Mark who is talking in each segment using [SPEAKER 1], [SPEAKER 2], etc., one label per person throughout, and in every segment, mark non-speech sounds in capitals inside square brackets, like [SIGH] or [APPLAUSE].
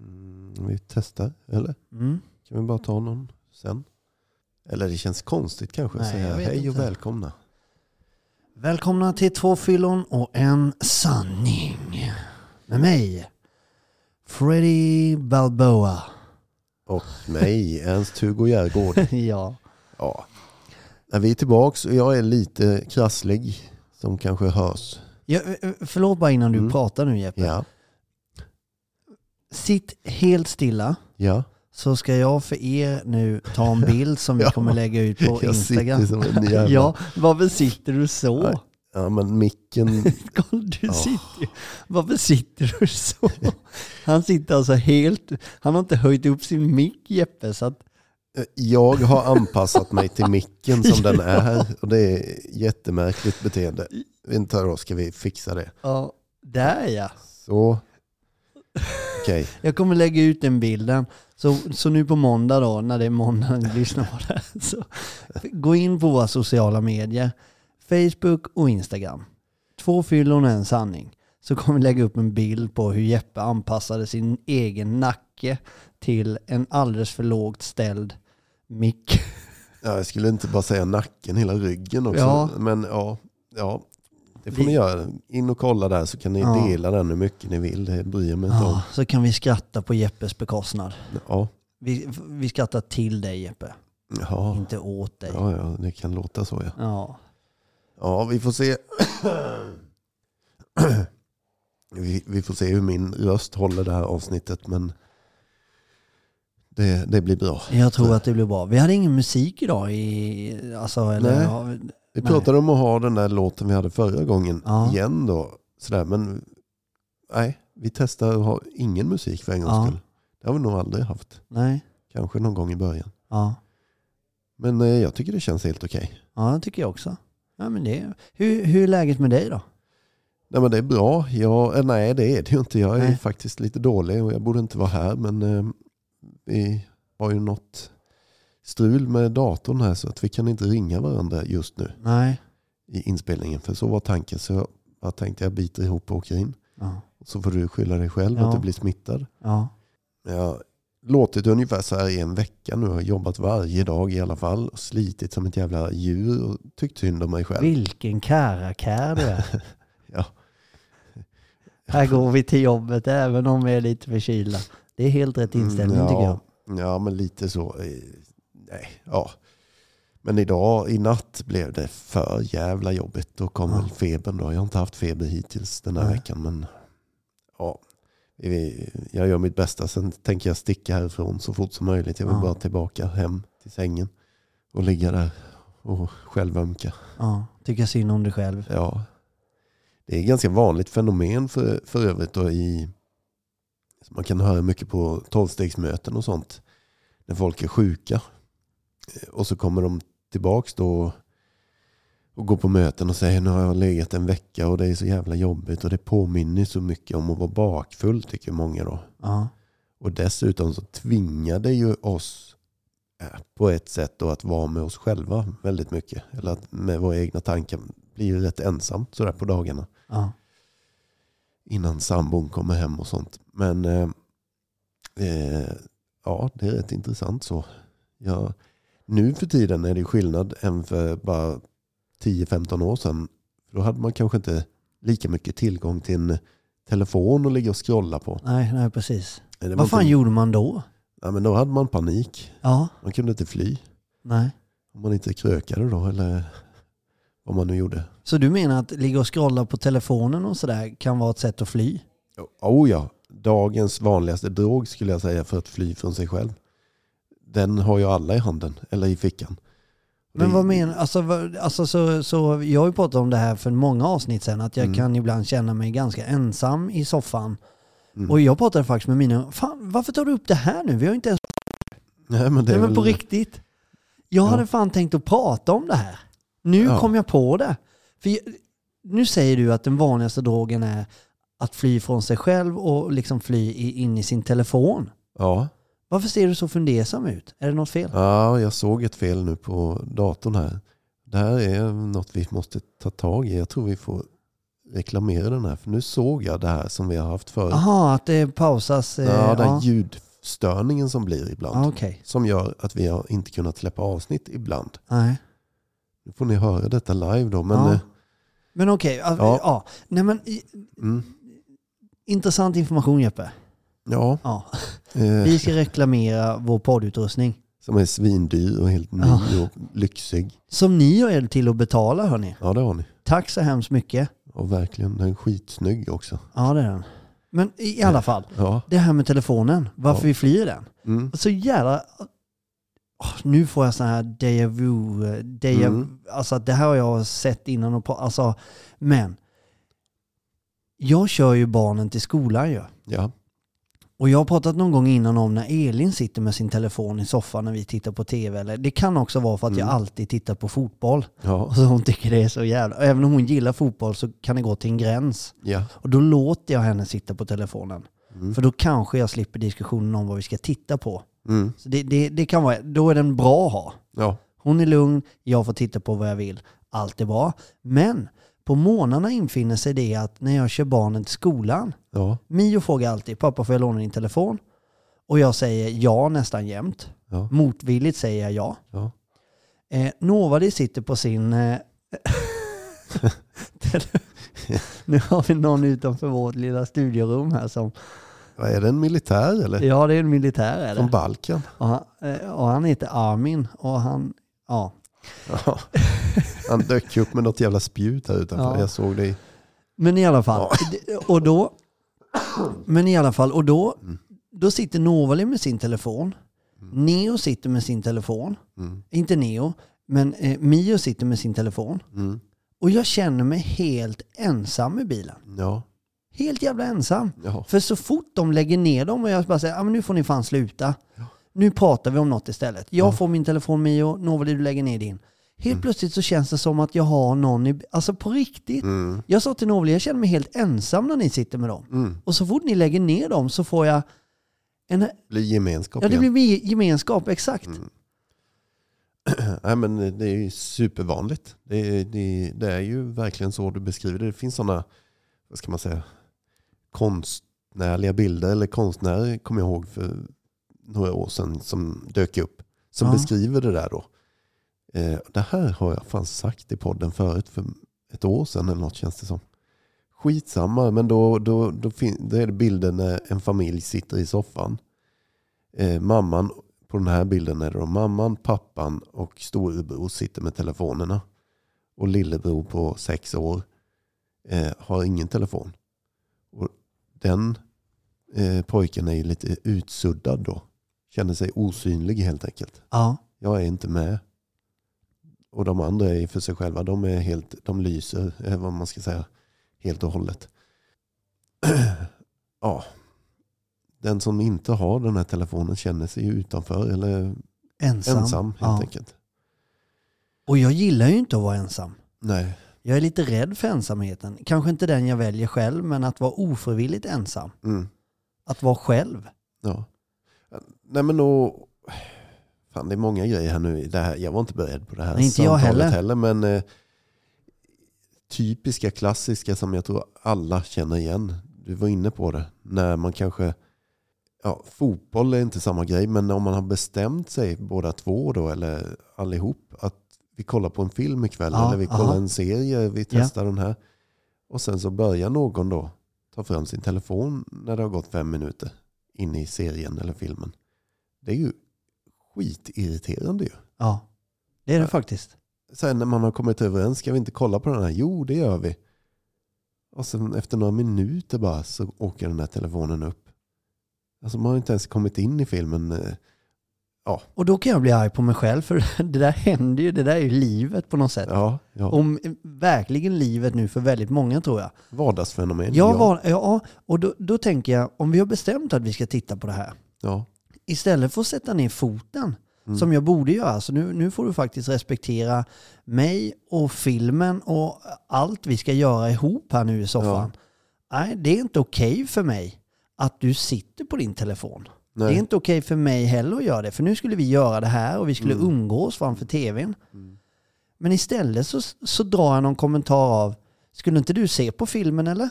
[SPEAKER 1] Mm, Vi testar, eller?
[SPEAKER 2] Mm.
[SPEAKER 1] Kan vi bara ta någon sen? Eller det känns konstigt kanske att
[SPEAKER 2] Nej,
[SPEAKER 1] säga
[SPEAKER 2] jag vet
[SPEAKER 1] hej
[SPEAKER 2] inte.
[SPEAKER 1] och välkomna.
[SPEAKER 2] Välkomna till två fyllon och en sanning. Med mig, Freddy Balboa.
[SPEAKER 1] Och mig, Ernst-Hugo
[SPEAKER 2] [LAUGHS]
[SPEAKER 1] Järgård.
[SPEAKER 2] ja.
[SPEAKER 1] [LAUGHS] Ja. Nej, Vi är tillbaks och jag är lite krasslig som kanske hörs.
[SPEAKER 2] Jag, förlåt bara innan du
[SPEAKER 1] Mm.
[SPEAKER 2] pratar nu Jeppe.
[SPEAKER 1] Ja,
[SPEAKER 2] Sitt helt stilla
[SPEAKER 1] ja.
[SPEAKER 2] så ska jag för er nu
[SPEAKER 1] [LAUGHS]
[SPEAKER 2] ta en bild som vi
[SPEAKER 1] Ja.
[SPEAKER 2] kommer lägga ut på
[SPEAKER 1] jag
[SPEAKER 2] Instagram.
[SPEAKER 1] sitter som en jävla...
[SPEAKER 2] [LAUGHS] Ja, varför sitter du så?
[SPEAKER 1] Nej. ja, men micken...
[SPEAKER 2] Kolla, du
[SPEAKER 1] Ja.
[SPEAKER 2] sitter ju. Varför sitter
[SPEAKER 1] [LAUGHS]
[SPEAKER 2] du så? Han sitter alltså helt... Han har inte höjt upp sin mick Jeppe. Så att,
[SPEAKER 1] eh, Jag har anpassat mig till micken som den är och det är jättemärkligt beteende. Vänta då, ska vi fixa det?
[SPEAKER 2] ja, där ja.
[SPEAKER 1] Så. Okej.
[SPEAKER 2] Jag kommer lägga ut den bilden. Så, så nu på måndag då, när det är måndag, när ni lyssnar på det här, så gå in på våra sociala medier, Facebook och Instagram. Två fyllon och en sanning. Så kommer vi lägga upp en bild på hur Jeppe anpassade sin egen nacke till en alldeles för lågt ställd mick.
[SPEAKER 1] Ja, jag skulle inte bara säga nacken, hela ryggen också.
[SPEAKER 2] Ja.
[SPEAKER 1] Men ja, ja, det får
[SPEAKER 2] Vi-
[SPEAKER 1] ni göra. In och kolla där så kan ni
[SPEAKER 2] Ja.
[SPEAKER 1] dela den hur mycket ni vill. Det bryr jag mig inte om.
[SPEAKER 2] Ja, så kan vi skratta på Jeppes bekostnad.
[SPEAKER 1] Ja,
[SPEAKER 2] Vi, vi skrattar till dig Jeppe,
[SPEAKER 1] ja,
[SPEAKER 2] inte åt dig.
[SPEAKER 1] ja, ja det kan låta så ja.
[SPEAKER 2] Ja.
[SPEAKER 1] Ja, vi får se. [CLEARS THROAT] vi, vi får se hur min röst håller det här avsnittet. Men det, det blir bra.
[SPEAKER 2] Jag tror att det blir bra. Vi hade ingen musik idag i... Alltså, eller,
[SPEAKER 1] Nej.
[SPEAKER 2] ja,
[SPEAKER 1] Vi
[SPEAKER 2] Nej.
[SPEAKER 1] pratade om att ha den där låten vi hade förra gången
[SPEAKER 2] Ja.
[SPEAKER 1] igen då. Sådär, men nej, vi testar att ha ingen musik för en gångs
[SPEAKER 2] Ja.
[SPEAKER 1] skull. Det har vi nog aldrig haft.
[SPEAKER 2] nej.
[SPEAKER 1] Kanske någon gång i början.
[SPEAKER 2] Ja.
[SPEAKER 1] Men eh, jag tycker det känns helt okej.
[SPEAKER 2] ja, det tycker jag också. Ja, men det, hur, hur är läget med dig då?
[SPEAKER 1] Nej men det är bra. Jag, eh, nej det är det ju inte. Jag är
[SPEAKER 2] Nej.
[SPEAKER 1] faktiskt lite dålig och jag borde inte vara här. Men eh, vi har ju något strul med datorn här så att vi kan inte ringa varandra just nu
[SPEAKER 2] Nej.
[SPEAKER 1] i inspelningen. För så var tanken. Så jag, jag tänkte jag biter ihop och åker in.
[SPEAKER 2] Ja.
[SPEAKER 1] Så får du skylla dig själv
[SPEAKER 2] Ja.
[SPEAKER 1] att du blir smittad.
[SPEAKER 2] ja.
[SPEAKER 1] Jag har låtit ungefär så här i en vecka nu. Jag har jobbat varje dag i alla fall. Och slitit som ett jävla djur och tyckt synd om mig själv.
[SPEAKER 2] Vilken karakär du är.
[SPEAKER 1] [LAUGHS] Ja.
[SPEAKER 2] Här går vi till jobbet även om vi är lite förkylda. Det är helt rätt inställning
[SPEAKER 1] Mm,
[SPEAKER 2] tycker jag.
[SPEAKER 1] ja, Ja, men lite så. eh, Nej, ja. Men idag, i natt blev det för jävla jobbigt. Då kom
[SPEAKER 2] Ja.
[SPEAKER 1] väl febern då. Jag har inte haft feber hittills den här
[SPEAKER 2] Nej.
[SPEAKER 1] veckan. Men ja, Vi- jag gör mitt bästa. Sen tänker jag sticka härifrån så fort som möjligt. Jag vill
[SPEAKER 2] Ja.
[SPEAKER 1] bara tillbaka hem till sängen och ligga där och självömka.
[SPEAKER 2] Ja. Tycker synd om dig själv.
[SPEAKER 1] Ja. Det är ett ganska vanligt fenomen för, för övrigt. Då i, som man kan höra mycket på tolvstegsmöten och sånt. När folk är sjuka. Eh, Och så kommer de tillbaks då och går på möten och säger nu har jag legat en vecka och det är så jävla jobbigt. Och det påminner så mycket om att vara bakfull tycker många då.
[SPEAKER 2] Ja.
[SPEAKER 1] Och dessutom så tvingar det ju oss eh, på ett sätt då att vara med oss själva väldigt mycket. Eller att med våra egna tankar blir ju rätt ensamt sådär på dagarna.
[SPEAKER 2] Ja.
[SPEAKER 1] Innan sambon kommer hem och sånt. Men eh, eh, ja, det är rätt intressant så. Ja, nu för tiden är det skillnad än för bara 10-15 år sedan. För då hade man kanske inte lika mycket tillgång till en telefon att ligga och scrolla på.
[SPEAKER 2] Nej, nej, precis.
[SPEAKER 1] Det var
[SPEAKER 2] Vad fan
[SPEAKER 1] inte,
[SPEAKER 2] gjorde man då?
[SPEAKER 1] ja, men då hade man panik.
[SPEAKER 2] Ja.
[SPEAKER 1] Man kunde inte fly.
[SPEAKER 2] Nej.
[SPEAKER 1] Om man inte krökade då eller vad man nu gjorde.
[SPEAKER 2] Så du menar att ligga och scrolla på telefonen och sådär kan vara ett sätt att fly?
[SPEAKER 1] Oh ja, dagens vanligaste drog skulle jag säga för att fly från sig själv. Den har ju alla i handen eller i fickan.
[SPEAKER 2] Men
[SPEAKER 1] Det-
[SPEAKER 2] vad menar alltså, vad- alltså så, så Jag har ju pratat om det här för många avsnitt sedan, att jag
[SPEAKER 1] Mm.
[SPEAKER 2] kan ibland känna mig ganska ensam i soffan.
[SPEAKER 1] Mm.
[SPEAKER 2] Och jag pratade faktiskt med mina, fan varför tar du upp det här nu? Vi har ju inte ens,
[SPEAKER 1] Nej men det är
[SPEAKER 2] nej men på
[SPEAKER 1] väl-
[SPEAKER 2] riktigt. Jag
[SPEAKER 1] Ja.
[SPEAKER 2] hade fan tänkt att prata om det här. Nu
[SPEAKER 1] Ja.
[SPEAKER 2] kom jag på det. För jag, nu säger du att den vanligaste drogen är att fly från sig själv och liksom fly i, in i sin telefon.
[SPEAKER 1] Ja.
[SPEAKER 2] Varför ser du så fundersam ut? Är det något fel?
[SPEAKER 1] ja, jag såg ett fel nu på datorn här. Det här är något vi måste ta tag i. Jag tror vi får reklamera den här. För nu såg jag det här som vi har haft förut.
[SPEAKER 2] Jaha, att Ah, det pausas. eh,
[SPEAKER 1] Ja, det här
[SPEAKER 2] ja.
[SPEAKER 1] ljud, störningen som blir ibland.
[SPEAKER 2] Ja, Okej.
[SPEAKER 1] Som gör att vi har inte kunnat släppa avsnitt ibland.
[SPEAKER 2] Nej.
[SPEAKER 1] Nu får ni höra detta live då. Men,
[SPEAKER 2] Ja.
[SPEAKER 1] eh,
[SPEAKER 2] Men okej, ja.
[SPEAKER 1] Ja.
[SPEAKER 2] ja. Nej, men, i-
[SPEAKER 1] mm,
[SPEAKER 2] intressant information Jeppe.
[SPEAKER 1] ja
[SPEAKER 2] Ja.
[SPEAKER 1] eh,
[SPEAKER 2] Vi ska reklamera vår poddutrustning.
[SPEAKER 1] som är svindyr och helt ny
[SPEAKER 2] Ja.
[SPEAKER 1] och lyxig.
[SPEAKER 2] Som ni har hjälpt till att betala hörni.
[SPEAKER 1] Ja det har ni.
[SPEAKER 2] Tack så hemskt mycket.
[SPEAKER 1] Och verkligen, den är skitsnygg också.
[SPEAKER 2] Ja det är den. Men i alla fall,
[SPEAKER 1] Ja.
[SPEAKER 2] det här med telefonen, varför
[SPEAKER 1] Ja.
[SPEAKER 2] vi flyr den.
[SPEAKER 1] Mm.
[SPEAKER 2] Så jävla... Åh, nu får jag sån här deja vu, eh, deja,
[SPEAKER 1] Mm.
[SPEAKER 2] alltså det här har jag sett innan och på, alltså, men. Jag kör ju barnen till skolan ju.
[SPEAKER 1] Ja.
[SPEAKER 2] Och jag har pratat någon gång innan om när Elin sitter med sin telefon i soffan när vi tittar på tv. Eller, det kan också vara för att
[SPEAKER 1] Mm.
[SPEAKER 2] jag alltid tittar på fotboll. [LAUGHS]
[SPEAKER 1] Ja.
[SPEAKER 2] Och så hon tycker det är så jävla... och Även om hon gillar fotboll så kan det gå till en gräns.
[SPEAKER 1] Ja.
[SPEAKER 2] Och då låter jag henne sitta på telefonen.
[SPEAKER 1] Mm.
[SPEAKER 2] För då kanske jag slipper diskussionen om vad vi ska titta på.
[SPEAKER 1] Mm.
[SPEAKER 2] Så det, det, det kan vara, då är den bra att ha.
[SPEAKER 1] Ja.
[SPEAKER 2] Hon är lugn, jag får titta på vad jag vill. Allt är bra. Men på morgnarna infinner sig det att när jag kör barnen till skolan,
[SPEAKER 1] Ja.
[SPEAKER 2] Mio frågar alltid, pappa får jag låna din telefon? Och jag säger ja nästan jämt.
[SPEAKER 1] Ja.
[SPEAKER 2] Motvilligt säger jag ja.
[SPEAKER 1] Ja.
[SPEAKER 2] Eh, Novadi sitter på sin... Eh, [LAUGHS] tele- nu har vi någon utanför vårt lilla studiorum här som...
[SPEAKER 1] Vad Är det en militär eller?
[SPEAKER 2] Ja, det är en militär är
[SPEAKER 1] Från
[SPEAKER 2] det.
[SPEAKER 1] Balkan?
[SPEAKER 2] Och han, eh, och han heter Armin och han... Ja.
[SPEAKER 1] Ja. Han dök ju upp med något jävla spjut här utanför.
[SPEAKER 2] Ja.
[SPEAKER 1] Jag såg det i...
[SPEAKER 2] Men i alla fall. d- Och då... Men i alla fall, och då, då sitter Novali med sin telefon. Neo sitter med sin telefon.
[SPEAKER 1] Mm.
[SPEAKER 2] Inte Neo, men eh, Mio sitter med sin telefon.
[SPEAKER 1] Mm.
[SPEAKER 2] Och jag känner mig helt ensam i bilen.
[SPEAKER 1] Ja.
[SPEAKER 2] Helt jävla ensam.
[SPEAKER 1] Ja.
[SPEAKER 2] För så fort de lägger ner dem och jag bara säger, ah, men nu får ni fan sluta. Nu pratar vi om något istället. Jag får min telefon Mio, Novali du lägger ner din. Helt
[SPEAKER 1] Mm.
[SPEAKER 2] plötsligt så känns det som att jag har någon i, alltså på riktigt.
[SPEAKER 1] Mm.
[SPEAKER 2] Jag sa till Novali, jag känner mig helt ensam när ni sitter med dem.
[SPEAKER 1] Mm.
[SPEAKER 2] Och så fort ni lägger ner dem så får jag en,
[SPEAKER 1] Blir gemenskap
[SPEAKER 2] ja det
[SPEAKER 1] igen.
[SPEAKER 2] blir vi- gemenskap, exakt.
[SPEAKER 1] Mm. Nej, men det är ju supervanligt. Det är, det, det är ju verkligen så du beskriver det. Det finns sådana, vad ska man säga, konstnärliga bilder eller konstnärer kommer jag ihåg för några år sedan som dök upp. Som
[SPEAKER 2] Ja.
[SPEAKER 1] beskriver det där då. Eh, det här har jag fan sagt i podden förut för ett år sedan eller något känns det som. Skitsamma, men då, då, då, fin- då är det bilden när en familj sitter i soffan. Eh, mamman på den här bilden är det då mamman, pappan och storebror sitter med telefonerna. Och lillebror på sex år eh, har ingen telefon. Och den eh, pojken är ju lite utsuddad då. Känner sig osynlig helt enkelt.
[SPEAKER 2] Ja.
[SPEAKER 1] Jag är inte med. Och de andra är för sig själva. De, är helt, de lyser, eh, vad man ska säga, helt och hållet. [CLEARS THROAT] ja. Den som inte har den här telefonen känner sig ju utanför eller
[SPEAKER 2] Ensam.
[SPEAKER 1] ensam helt
[SPEAKER 2] ja.
[SPEAKER 1] enkelt.
[SPEAKER 2] Och jag gillar ju inte att vara ensam.
[SPEAKER 1] Nej.
[SPEAKER 2] Jag är lite rädd för ensamheten. Kanske inte den jag väljer själv, men att vara ofrivilligt ensam.
[SPEAKER 1] Mm.
[SPEAKER 2] Att vara själv.
[SPEAKER 1] Ja. Nej men då, fan det är många grejer här nu. i Det här, jag var inte beredd på det här
[SPEAKER 2] Nej, inte jag
[SPEAKER 1] samtalet
[SPEAKER 2] heller.
[SPEAKER 1] men eh, typiska klassiska som jag tror alla känner igen. Du var inne på det. När man kanske, ja fotboll är inte samma grej, men om man har bestämt sig båda två då eller allihop att vi kollar på en film ikväll
[SPEAKER 2] Ja,
[SPEAKER 1] eller vi kollar
[SPEAKER 2] aha.
[SPEAKER 1] en serie, vi
[SPEAKER 2] Ja.
[SPEAKER 1] testar den här. Och sen så börjar någon då ta fram sin telefon när det har gått fem minuter in i serien eller filmen. Det är ju skitirriterande ju.
[SPEAKER 2] Ja, det är det faktiskt.
[SPEAKER 1] Sen när man har kommit överens, ska vi inte kolla på den här? Jo, det gör vi. Och sen efter några minuter bara så åker den här telefonen upp. Alltså man har inte ens kommit in i filmen. eh,
[SPEAKER 2] Och då kan jag bli arg på mig själv, för [LAUGHS] det där händer ju. Det där är ju livet på något sätt.
[SPEAKER 1] Ja, ja.
[SPEAKER 2] Om verkligen livet nu för väldigt många tror jag.
[SPEAKER 1] Vardagsfenomen.
[SPEAKER 2] Jag
[SPEAKER 1] ja.
[SPEAKER 2] var, ja, och då, då tänker jag, om vi har bestämt att vi ska titta på det här,
[SPEAKER 1] Ja.
[SPEAKER 2] istället för att sätta ner foten,
[SPEAKER 1] Mm.
[SPEAKER 2] som jag borde göra, så nu, nu får du faktiskt respektera mig och filmen och allt vi ska göra ihop här nu i soffan. Nej, det är inte okej för mig att du sitter på din telefon.
[SPEAKER 1] Nej.
[SPEAKER 2] Det är inte okej för mig heller att göra det, för nu skulle vi göra det här och vi skulle
[SPEAKER 1] Mm.
[SPEAKER 2] umgås framför tvn. Men istället så, så drar jag någon kommentar av, skulle inte du se på filmen eller?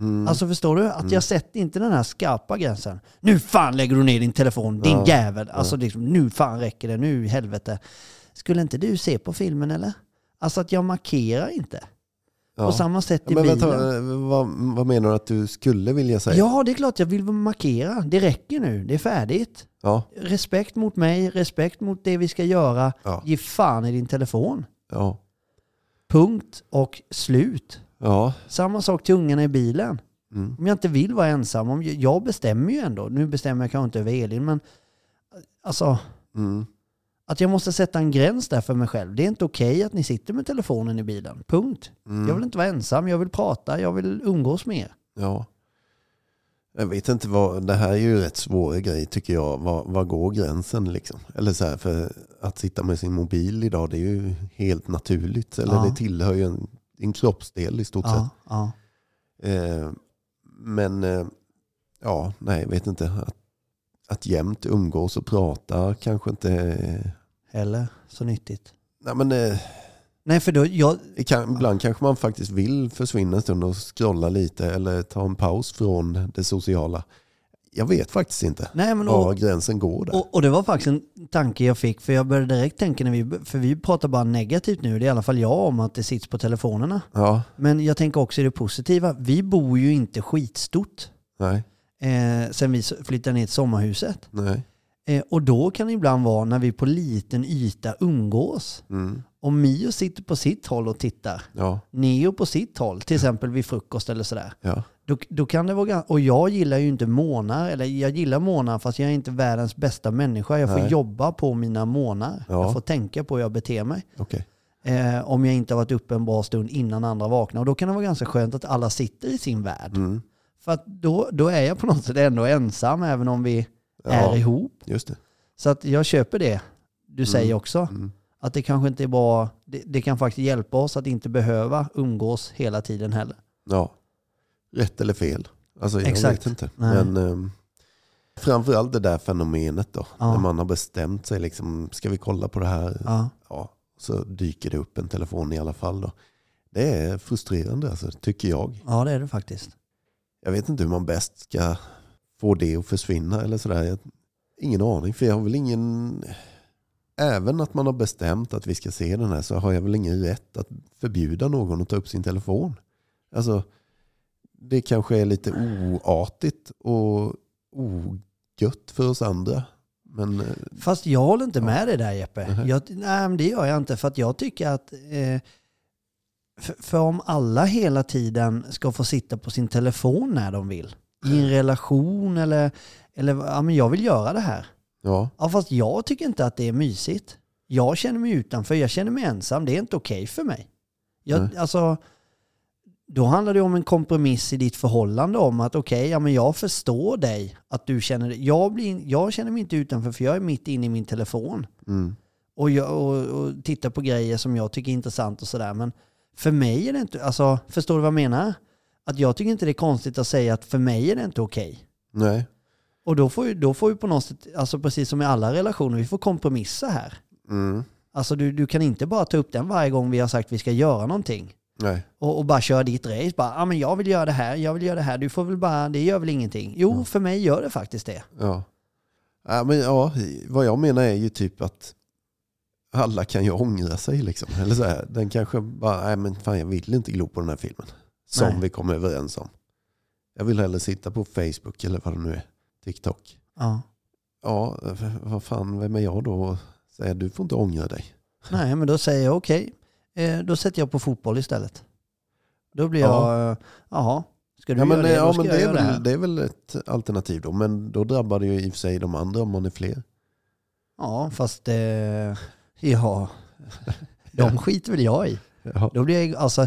[SPEAKER 1] Mm.
[SPEAKER 2] Alltså förstår du? Att jag sätter inte den här skarpa gränsen. Nu fan lägger du ner din telefon, din
[SPEAKER 1] Ja.
[SPEAKER 2] jävel. Alltså liksom, nu fan räcker det, nu helvete. Skulle inte du se på filmen eller? Alltså att jag markerar inte.
[SPEAKER 1] ja.
[SPEAKER 2] På samma sätt i
[SPEAKER 1] men
[SPEAKER 2] bilen.
[SPEAKER 1] vänta, eh, vad, vad menar du att du skulle vilja säga?
[SPEAKER 2] ja, det är klart jag vill markera. Det räcker nu, det är färdigt.
[SPEAKER 1] Ja,
[SPEAKER 2] Respekt mot mig, respekt mot det vi ska göra.
[SPEAKER 1] ja,
[SPEAKER 2] Ge fan i din telefon.
[SPEAKER 1] ja,
[SPEAKER 2] Punkt och slut.
[SPEAKER 1] ja.
[SPEAKER 2] Samma sak till ungarna i bilen.
[SPEAKER 1] Mm.
[SPEAKER 2] Om jag inte vill vara ensam, om jag- jag bestämmer ju ändå. Nu bestämmer jag kanske inte över Elin, men alltså
[SPEAKER 1] Mm.
[SPEAKER 2] att jag måste sätta en gräns där för mig själv. Det är inte okej att ni sitter med telefonen i bilen. Punkt.
[SPEAKER 1] Mm.
[SPEAKER 2] Jag vill inte vara ensam, jag vill prata, jag vill umgås med er.
[SPEAKER 1] Ja. Jag vet inte vad, det här är ju rätt svåra grej tycker jag. Vad, vad går gränsen liksom? Eller så här, för att sitta med sin mobil idag det är ju helt naturligt. Eller
[SPEAKER 2] Ja.
[SPEAKER 1] det tillhör ju en, en kroppsdel i stort
[SPEAKER 2] Ja, ja.
[SPEAKER 1] sett. Eh, men eh, ja, nej jag vet inte. Att, att jämt umgås och prata kanske inte... eh,
[SPEAKER 2] Eller så nyttigt.
[SPEAKER 1] Nej men eh,
[SPEAKER 2] Nej, för då, jag,
[SPEAKER 1] det kan, ibland kanske man faktiskt vill försvinna en stund och scrolla lite eller ta en paus från det sociala. Jag vet faktiskt inte.
[SPEAKER 2] nej men
[SPEAKER 1] var
[SPEAKER 2] och,
[SPEAKER 1] gränsen går där.
[SPEAKER 2] och, och det var faktiskt en tanke jag fick, för jag började direkt tänka när vi, för vi pratar bara negativt nu, det är i alla fall jag om att det sitter på telefonerna.
[SPEAKER 1] ja,
[SPEAKER 2] Men jag tänker också i det positiva, vi bor ju inte skitstort.
[SPEAKER 1] nej,
[SPEAKER 2] eh, sen vi s- flyttade ner till sommarhuset.
[SPEAKER 1] nej.
[SPEAKER 2] Eh, och då kan det ibland vara när vi på liten yta umgås.
[SPEAKER 1] Mm,
[SPEAKER 2] Om Mio sitter på sitt håll och tittar,
[SPEAKER 1] ja,
[SPEAKER 2] Neo på sitt håll, till exempel vid frukost eller sådär.
[SPEAKER 1] ja,
[SPEAKER 2] Då, då kan det vara gan- Och jag gillar ju inte månar, eller jag gillar månar fast jag är inte världens bästa människa. Jag får
[SPEAKER 1] Nej.
[SPEAKER 2] jobba på mina månar.
[SPEAKER 1] Ja.
[SPEAKER 2] Jag får tänka på hur jag beter mig.
[SPEAKER 1] okej.
[SPEAKER 2] Eh, om jag inte har varit uppe en bra stund innan andra vaknar. Och då kan det vara ganska skönt att alla sitter i sin värld.
[SPEAKER 1] Mm,
[SPEAKER 2] För att då, då är jag på något sätt ändå ensam även om vi är
[SPEAKER 1] ja,
[SPEAKER 2] ihop.
[SPEAKER 1] just det.
[SPEAKER 2] Så att jag köper det du
[SPEAKER 1] Mm.
[SPEAKER 2] säger också.
[SPEAKER 1] Mm,
[SPEAKER 2] Att det kanske inte är bra. Det, det kan faktiskt hjälpa oss att inte behöva umgås hela tiden heller.
[SPEAKER 1] ja. Rätt eller fel? Alltså jag
[SPEAKER 2] Exakt.
[SPEAKER 1] vet inte.
[SPEAKER 2] Nej.
[SPEAKER 1] Men ehm, framförallt det där fenomenet då.
[SPEAKER 2] Ja.
[SPEAKER 1] När man har bestämt sig, liksom, ska vi kolla på det här? Ja.
[SPEAKER 2] Ja.
[SPEAKER 1] Så dyker det upp en telefon i alla fall då. Det är frustrerande alltså, tycker jag.
[SPEAKER 2] ja, det är det faktiskt.
[SPEAKER 1] Jag vet inte hur man bäst ska få det att försvinna eller sådär. Jag, ingen aning, för jag har väl ingen... Även att man har bestämt att vi ska se den här så har jag väl ingen rätt att förbjuda någon att ta upp sin telefon. Alltså, det kanske är lite oartigt och ogött för oss andra. Men eh,
[SPEAKER 2] Fast jag håller inte med dig där Jeppe.
[SPEAKER 1] Mhm.
[SPEAKER 2] Jag, nej, men det gör jag inte. För att jag tycker att eh, för, för om alla hela tiden ska få sitta på sin telefon när de vill. I en relation eller, eller ja, men jag vill göra det här.
[SPEAKER 1] ja,
[SPEAKER 2] Ja, fast jag tycker inte att det är mysigt. Jag känner mig utanför, jag känner mig ensam. Det är inte okej för mig. Jag,
[SPEAKER 1] Nej.
[SPEAKER 2] alltså, då handlar det om en kompromiss i ditt förhållande om att okej, ja, men jag förstår dig. att du känner dig- jag, blir, jag känner mig inte utanför för jag är mitt inne i min telefon
[SPEAKER 1] mm,
[SPEAKER 2] och, jag, och, och tittar på grejer som jag tycker är intressant och sådär. Men för mig är det inte, alltså, förstår du vad jag menar? Att jag tycker inte det är konstigt att säga att för mig är det inte okej.
[SPEAKER 1] nej.
[SPEAKER 2] Och då får, ju, då får ju på något sätt, alltså precis som i alla relationer, vi får kompromissa här.
[SPEAKER 1] Mm,
[SPEAKER 2] Alltså du, du kan inte bara ta upp den varje gång vi har sagt vi ska göra någonting.
[SPEAKER 1] nej.
[SPEAKER 2] Och, och bara köra ditt race. Bara, ah, men jag vill göra det här, jag vill göra det här. Du får väl bara, det gör väl ingenting. Jo, för mig gör det faktiskt det.
[SPEAKER 1] Ja. Ja, men ja, vad jag menar är ju typ att alla kan ju ångra sig. Liksom. Eller så här, den kanske bara, nej men fan jag vill inte glo på den här filmen. Som
[SPEAKER 2] Nej.
[SPEAKER 1] vi kom överens om. Jag vill hellre sitta på Facebook eller vad det nu är. TikTok.
[SPEAKER 2] Ja.
[SPEAKER 1] Ja, v- vad fan, vem är jag då och säga du får inte ångra dig.
[SPEAKER 2] Nej, men då säger jag okej, eh, då sätter jag på fotboll istället. Då blir
[SPEAKER 1] Ja.
[SPEAKER 2] jag, eh, jaha, ska du
[SPEAKER 1] Ja, men,
[SPEAKER 2] göra det,
[SPEAKER 1] ja,
[SPEAKER 2] då ska
[SPEAKER 1] men
[SPEAKER 2] jag
[SPEAKER 1] det, är
[SPEAKER 2] göra det här.
[SPEAKER 1] väl, det är väl ett alternativ då. Men då drabbar det ju i och för sig de andra om man är fler.
[SPEAKER 2] Ja, fast, eh, ja, [LAUGHS] de skiter väl jag i.
[SPEAKER 1] Ja,
[SPEAKER 2] Då blir jag, alltså,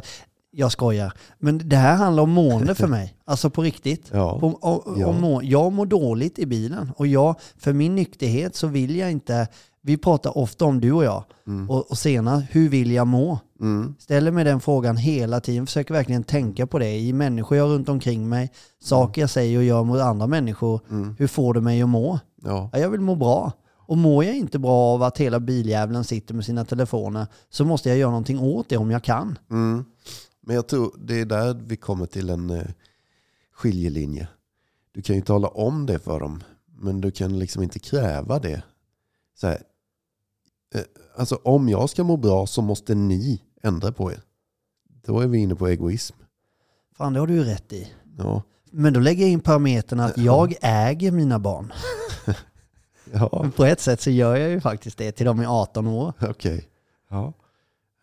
[SPEAKER 2] jag skojar. Men det här handlar om mående för mig. Alltså på riktigt.
[SPEAKER 1] ja.
[SPEAKER 2] Om, om,
[SPEAKER 1] Ja.
[SPEAKER 2] om må, jag mår dåligt i bilen och jag, för min nykterhet så vill jag inte, vi pratar ofta om du och jag
[SPEAKER 1] Mm.
[SPEAKER 2] och, och senare, hur vill jag må?
[SPEAKER 1] Mm.
[SPEAKER 2] Ställer mig den frågan hela tiden, försöker verkligen tänka på det i människor jag har runt omkring mig, saker jag säger och gör mot andra människor.
[SPEAKER 1] Mm.
[SPEAKER 2] Hur får det mig att må?
[SPEAKER 1] ja.
[SPEAKER 2] Ja, jag vill må bra. Och mår jag inte bra av att hela biljävlen sitter med sina telefoner så måste jag göra någonting åt det om jag kan.
[SPEAKER 1] Mm. Men jag tror det är där vi kommer till en, eh, skiljelinje. Du kan ju tala om det för dem, men du kan liksom inte kräva det. Så här, eh, alltså om jag ska må bra så måste ni ändra på er. Då är vi inne på egoism.
[SPEAKER 2] Fan, det har du ju rätt i.
[SPEAKER 1] Ja,
[SPEAKER 2] Men då lägger jag in parametern att
[SPEAKER 1] Ja.
[SPEAKER 2] jag äger mina barn.
[SPEAKER 1] ja
[SPEAKER 2] Men på ett sätt så gör jag ju faktiskt det till de är 18 år.
[SPEAKER 1] [LAUGHS] okej. Ja.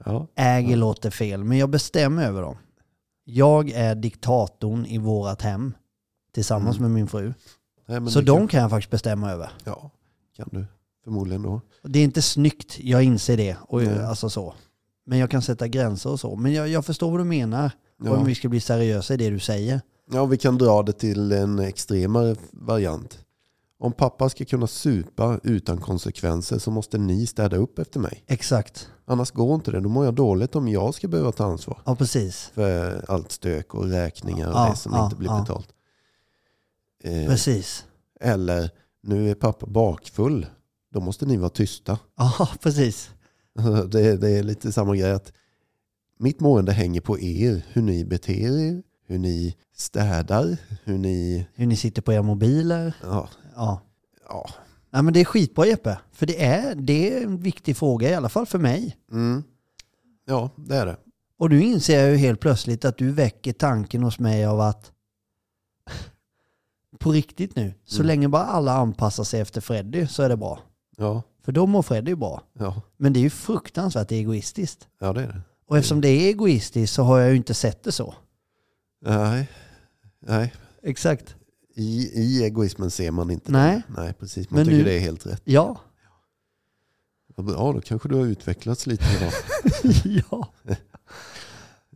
[SPEAKER 1] Ja.
[SPEAKER 2] Äger låter fel, men jag bestämmer över dem. Jag är diktatorn i vårat hem tillsammans med min fru.
[SPEAKER 1] Nej, Mm. men
[SPEAKER 2] Så
[SPEAKER 1] det
[SPEAKER 2] de
[SPEAKER 1] Kan,
[SPEAKER 2] kan jag faktiskt bestämma över.
[SPEAKER 1] ja, kan du förmodligen då.
[SPEAKER 2] Och Det är inte snyggt, jag inser det. Och,
[SPEAKER 1] Nej.
[SPEAKER 2] alltså så. Men jag kan sätta gränser och så. Men jag, jag förstår vad du menar.
[SPEAKER 1] Ja.
[SPEAKER 2] Om vi ska bli seriösa i det du säger.
[SPEAKER 1] Ja, vi kan dra det till en extremare variant. Om pappa ska kunna supa utan konsekvenser så måste ni städa upp efter mig.
[SPEAKER 2] Exakt.
[SPEAKER 1] Annars går inte det. Då mår jag dåligt om jag ska behöva ta ansvar
[SPEAKER 2] Ja, precis.
[SPEAKER 1] för allt stök och räkningar och
[SPEAKER 2] Ja,
[SPEAKER 1] det som
[SPEAKER 2] ja,
[SPEAKER 1] inte blir
[SPEAKER 2] ja.
[SPEAKER 1] betalt. Eh,
[SPEAKER 2] Precis.
[SPEAKER 1] eller, nu är pappa bakfull. Då måste ni vara tysta. [LAUGHS]
[SPEAKER 2] Ja, [LAUGHS] precis.
[SPEAKER 1] Det, det är lite samma grej att mitt mående hänger på er, hur ni beter er, hur ni städar, hur ni...
[SPEAKER 2] Hur ni sitter på era mobiler.
[SPEAKER 1] Ja,
[SPEAKER 2] Ja.
[SPEAKER 1] ja.
[SPEAKER 2] Ja, men det är skitbra Jeppe. För det är, det är en viktig fråga, i alla fall för mig.
[SPEAKER 1] Mm. Ja, det är det.
[SPEAKER 2] Och nu inser jag ju helt plötsligt att du väcker tanken hos mig av att [LAUGHS] på riktigt nu, så
[SPEAKER 1] Mm.
[SPEAKER 2] länge bara alla anpassar sig efter Freddy så är det bra.
[SPEAKER 1] Ja,
[SPEAKER 2] För då mår Freddy bra.
[SPEAKER 1] ja,
[SPEAKER 2] Men det är ju fruktansvärt egoistiskt.
[SPEAKER 1] ja det är det.
[SPEAKER 2] Och eftersom det är egoistiskt så har jag ju inte sett det så.
[SPEAKER 1] Nej, nej.
[SPEAKER 2] Exakt.
[SPEAKER 1] I, i egoismen ser man inte
[SPEAKER 2] Nej.
[SPEAKER 1] det. Nej, precis. Man
[SPEAKER 2] Men
[SPEAKER 1] tycker
[SPEAKER 2] nu-
[SPEAKER 1] det är helt rätt.
[SPEAKER 2] Ja.
[SPEAKER 1] Vad bra, då kanske du har utvecklats lite idag.
[SPEAKER 2] [LAUGHS] ja.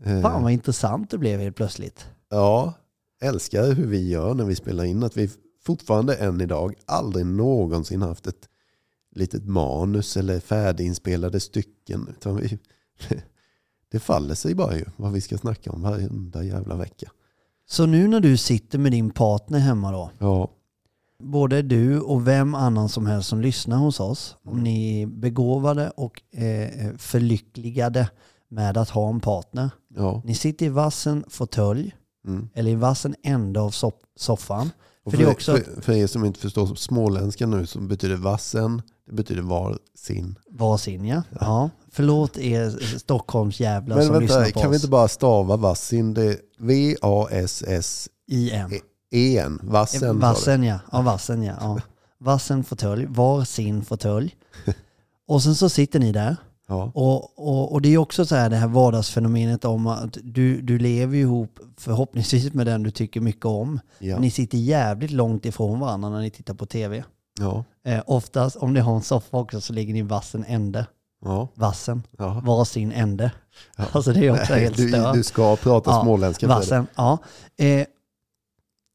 [SPEAKER 1] Eh,
[SPEAKER 2] Fan vad intressant det blev helt plötsligt.
[SPEAKER 1] Ja, älskar hur vi gör när vi spelar in. Att vi fortfarande än idag aldrig någonsin haft ett litet manus eller färdiginspelade stycken. Utan vi, [LAUGHS] det faller sig bara ju vad vi ska snacka om varenda jävla vecka.
[SPEAKER 2] Så nu när du sitter med din partner hemma då,
[SPEAKER 1] Ja,
[SPEAKER 2] både du och vem annan som helst som lyssnar hos oss,
[SPEAKER 1] Mm.
[SPEAKER 2] om ni är begåvade och eh, förlyckligade med att ha en partner.
[SPEAKER 1] ja.
[SPEAKER 2] Ni sitter i vassen fåtölj
[SPEAKER 1] Mm.
[SPEAKER 2] eller i vassen ände av soff- soffan.
[SPEAKER 1] Och
[SPEAKER 2] För
[SPEAKER 1] för,
[SPEAKER 2] det är också-
[SPEAKER 1] för, för er som inte förstår småländska nu så betyder vassen, det betyder var sin.
[SPEAKER 2] Var sin ja. ja. Förlåt er eh, Stockholmsjävlar
[SPEAKER 1] Men
[SPEAKER 2] som lyssnar
[SPEAKER 1] vänta,
[SPEAKER 2] på
[SPEAKER 1] kan
[SPEAKER 2] oss.
[SPEAKER 1] vi inte bara stava vassin? Det är V-A-S-S-E-N.
[SPEAKER 2] I en.
[SPEAKER 1] E Vassen. var Eh, det.
[SPEAKER 2] Vassen ja. ja, vassen ja. ja. Vassen fåtölj, var sin fåtölj.
[SPEAKER 1] [LAUGHS]
[SPEAKER 2] Och sen så sitter ni där.
[SPEAKER 1] Ja,
[SPEAKER 2] Och, och, och det är också så här det här vardagsfenomenet om att du, du lever ju ihop förhoppningsvis med den du tycker mycket om.
[SPEAKER 1] ja,
[SPEAKER 2] Ni sitter jävligt långt ifrån varandra när ni tittar på tv.
[SPEAKER 1] ja,
[SPEAKER 2] Eh, oftast om ni har en soffa också så ligger ni i vassen ände.
[SPEAKER 1] ja.
[SPEAKER 2] Vassen,
[SPEAKER 1] ja.
[SPEAKER 2] varsin ände.
[SPEAKER 1] Ja.
[SPEAKER 2] Alltså det är också
[SPEAKER 1] Nej,
[SPEAKER 2] helt
[SPEAKER 1] du,
[SPEAKER 2] stört.
[SPEAKER 1] du ska prata
[SPEAKER 2] Ja,
[SPEAKER 1] småländska. Fredrik.
[SPEAKER 2] Vassen, ja. Eh,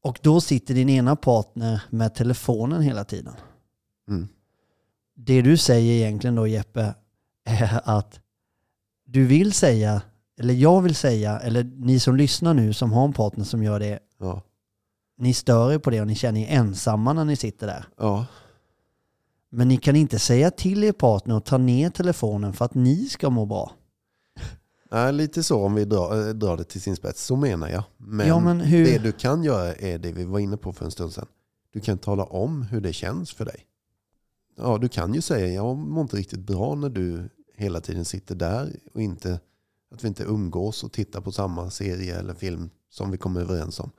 [SPEAKER 2] och då sitter din ena partner med telefonen hela tiden.
[SPEAKER 1] Mm.
[SPEAKER 2] Det du säger egentligen då Jeppe är att du vill säga, eller jag vill säga, eller ni som lyssnar nu som har en partner som gör det,
[SPEAKER 1] Ja,
[SPEAKER 2] ni stör er på det och ni känner er ensamma när ni sitter där.
[SPEAKER 1] ja,
[SPEAKER 2] Men ni kan inte säga till er partner att ta ner telefonen för att ni ska må bra.
[SPEAKER 1] Nej, lite så om vi drar, eh, drar det till sin spets. Så menar jag. Men,
[SPEAKER 2] ja men hur,
[SPEAKER 1] det du kan göra är det vi var inne på för en stund sedan. Du kan tala om hur det känns för dig. Ja, du kan ju säga jag mår inte riktigt bra när du hela tiden sitter där och inte att vi inte umgås och tittar på samma serie eller film som vi kommer överens om.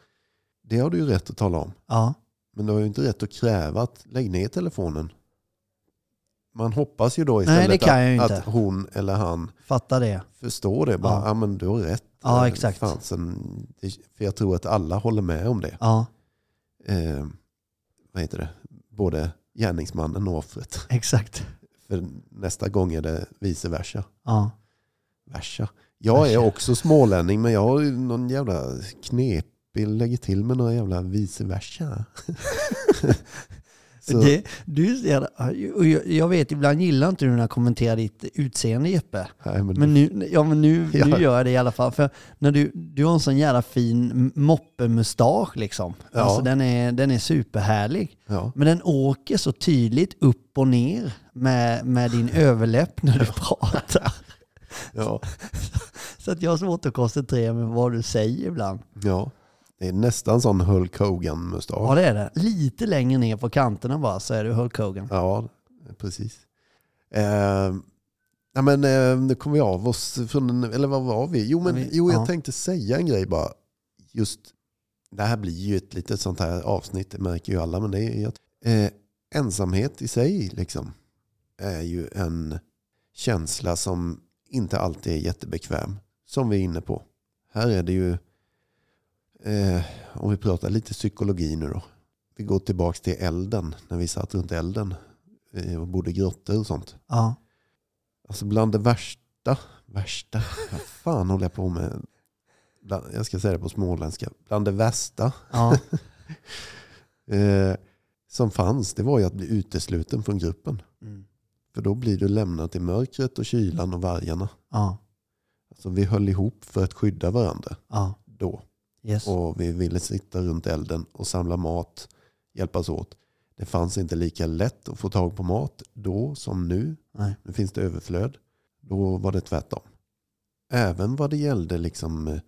[SPEAKER 1] Det har du ju rätt att tala om.
[SPEAKER 2] ja,
[SPEAKER 1] Men du har ju inte rätt att kräva att lägg ner telefonen. Man hoppas ju då
[SPEAKER 2] Nej, det
[SPEAKER 1] istället
[SPEAKER 2] kan jag ju
[SPEAKER 1] att,
[SPEAKER 2] inte.
[SPEAKER 1] att hon eller han
[SPEAKER 2] fatta det.
[SPEAKER 1] förstår det. Bara,
[SPEAKER 2] Ja.
[SPEAKER 1] ja. ah, men du har rätt.
[SPEAKER 2] Ja,
[SPEAKER 1] Eh,
[SPEAKER 2] exakt.
[SPEAKER 1] Fan, sen, det, för jag tror att alla håller med om det.
[SPEAKER 2] Ja,
[SPEAKER 1] Eh, vad heter det? Både gärningsmannen och offret.
[SPEAKER 2] exakt.
[SPEAKER 1] För nästa gång är det vice versa.
[SPEAKER 2] Ja.
[SPEAKER 1] versa. Jag är
[SPEAKER 2] Versa.
[SPEAKER 1] också smålänning men jag har ju någon jävla knepig, lägger till med några jävla vice versa. Så-
[SPEAKER 2] Det, du ser, och jag, jag vet, ibland gillar inte du när jag kommenterar ditt utseende Jeppe.
[SPEAKER 1] Nej, men,
[SPEAKER 2] Men nu, ja,
[SPEAKER 1] [LAUGHS]
[SPEAKER 2] men nu,
[SPEAKER 1] Ja.
[SPEAKER 2] nu gör jag det i alla fall. För när du, du har en sån jävla fin moppemustasch liksom.
[SPEAKER 1] Ja.
[SPEAKER 2] Alltså, den, är, den är superhärlig.
[SPEAKER 1] ja.
[SPEAKER 2] Men den åker så tydligt upp och ner med,
[SPEAKER 1] [LAUGHS]
[SPEAKER 2] med din överläpp när du pratar.
[SPEAKER 1] Ja,
[SPEAKER 2] Så att jag har svårt att koncentrera mig på vad du säger ibland.
[SPEAKER 1] ja. Det är nästan sån Hulk
[SPEAKER 2] Ja
[SPEAKER 1] Hogan-mustasch.
[SPEAKER 2] det är det. Lite längre ner på kanterna bara så är det Hulk Hogan.
[SPEAKER 1] Ja, precis. Eh, ja, men, eh, nu kom vi av oss från, en- eller vad var vi? Jo, men,
[SPEAKER 2] Vi-
[SPEAKER 1] jo jag
[SPEAKER 2] ja.
[SPEAKER 1] tänkte säga en grej bara. Just, det här blir ju ett litet sånt här avsnitt, det märker ju alla. Men det är, ju att, eh, ensamhet i sig liksom, är ju en känsla som inte alltid är jättebekväm. Som vi är inne på. Här är det ju, eh, om vi pratar lite psykologi nu då. Vi går tillbaka till elden, när vi satt runt elden eh, och bodde i grottor och sånt.
[SPEAKER 2] Ja.
[SPEAKER 1] Alltså bland det värsta, värsta, vad fan håller jag på med? Bland, jag ska säga det på småländska. Bland det värsta [LAUGHS]
[SPEAKER 2] ja.
[SPEAKER 1] eh, som fanns, det var ju att bli utesluten från gruppen.
[SPEAKER 2] Mm.
[SPEAKER 1] För då blir du lämnad till mörkret och kylan och vargarna.
[SPEAKER 2] Ja.
[SPEAKER 1] Alltså vi höll ihop för att skydda varandra
[SPEAKER 2] Ja.
[SPEAKER 1] då.
[SPEAKER 2] Yes.
[SPEAKER 1] Och vi ville sitta runt elden och samla mat, hjälpas åt. Det fanns inte lika lätt att få tag på mat då som nu.
[SPEAKER 2] Nej.
[SPEAKER 1] Nu finns det överflöd. Då var det tvärtom. Även vad det gällde liksom eh,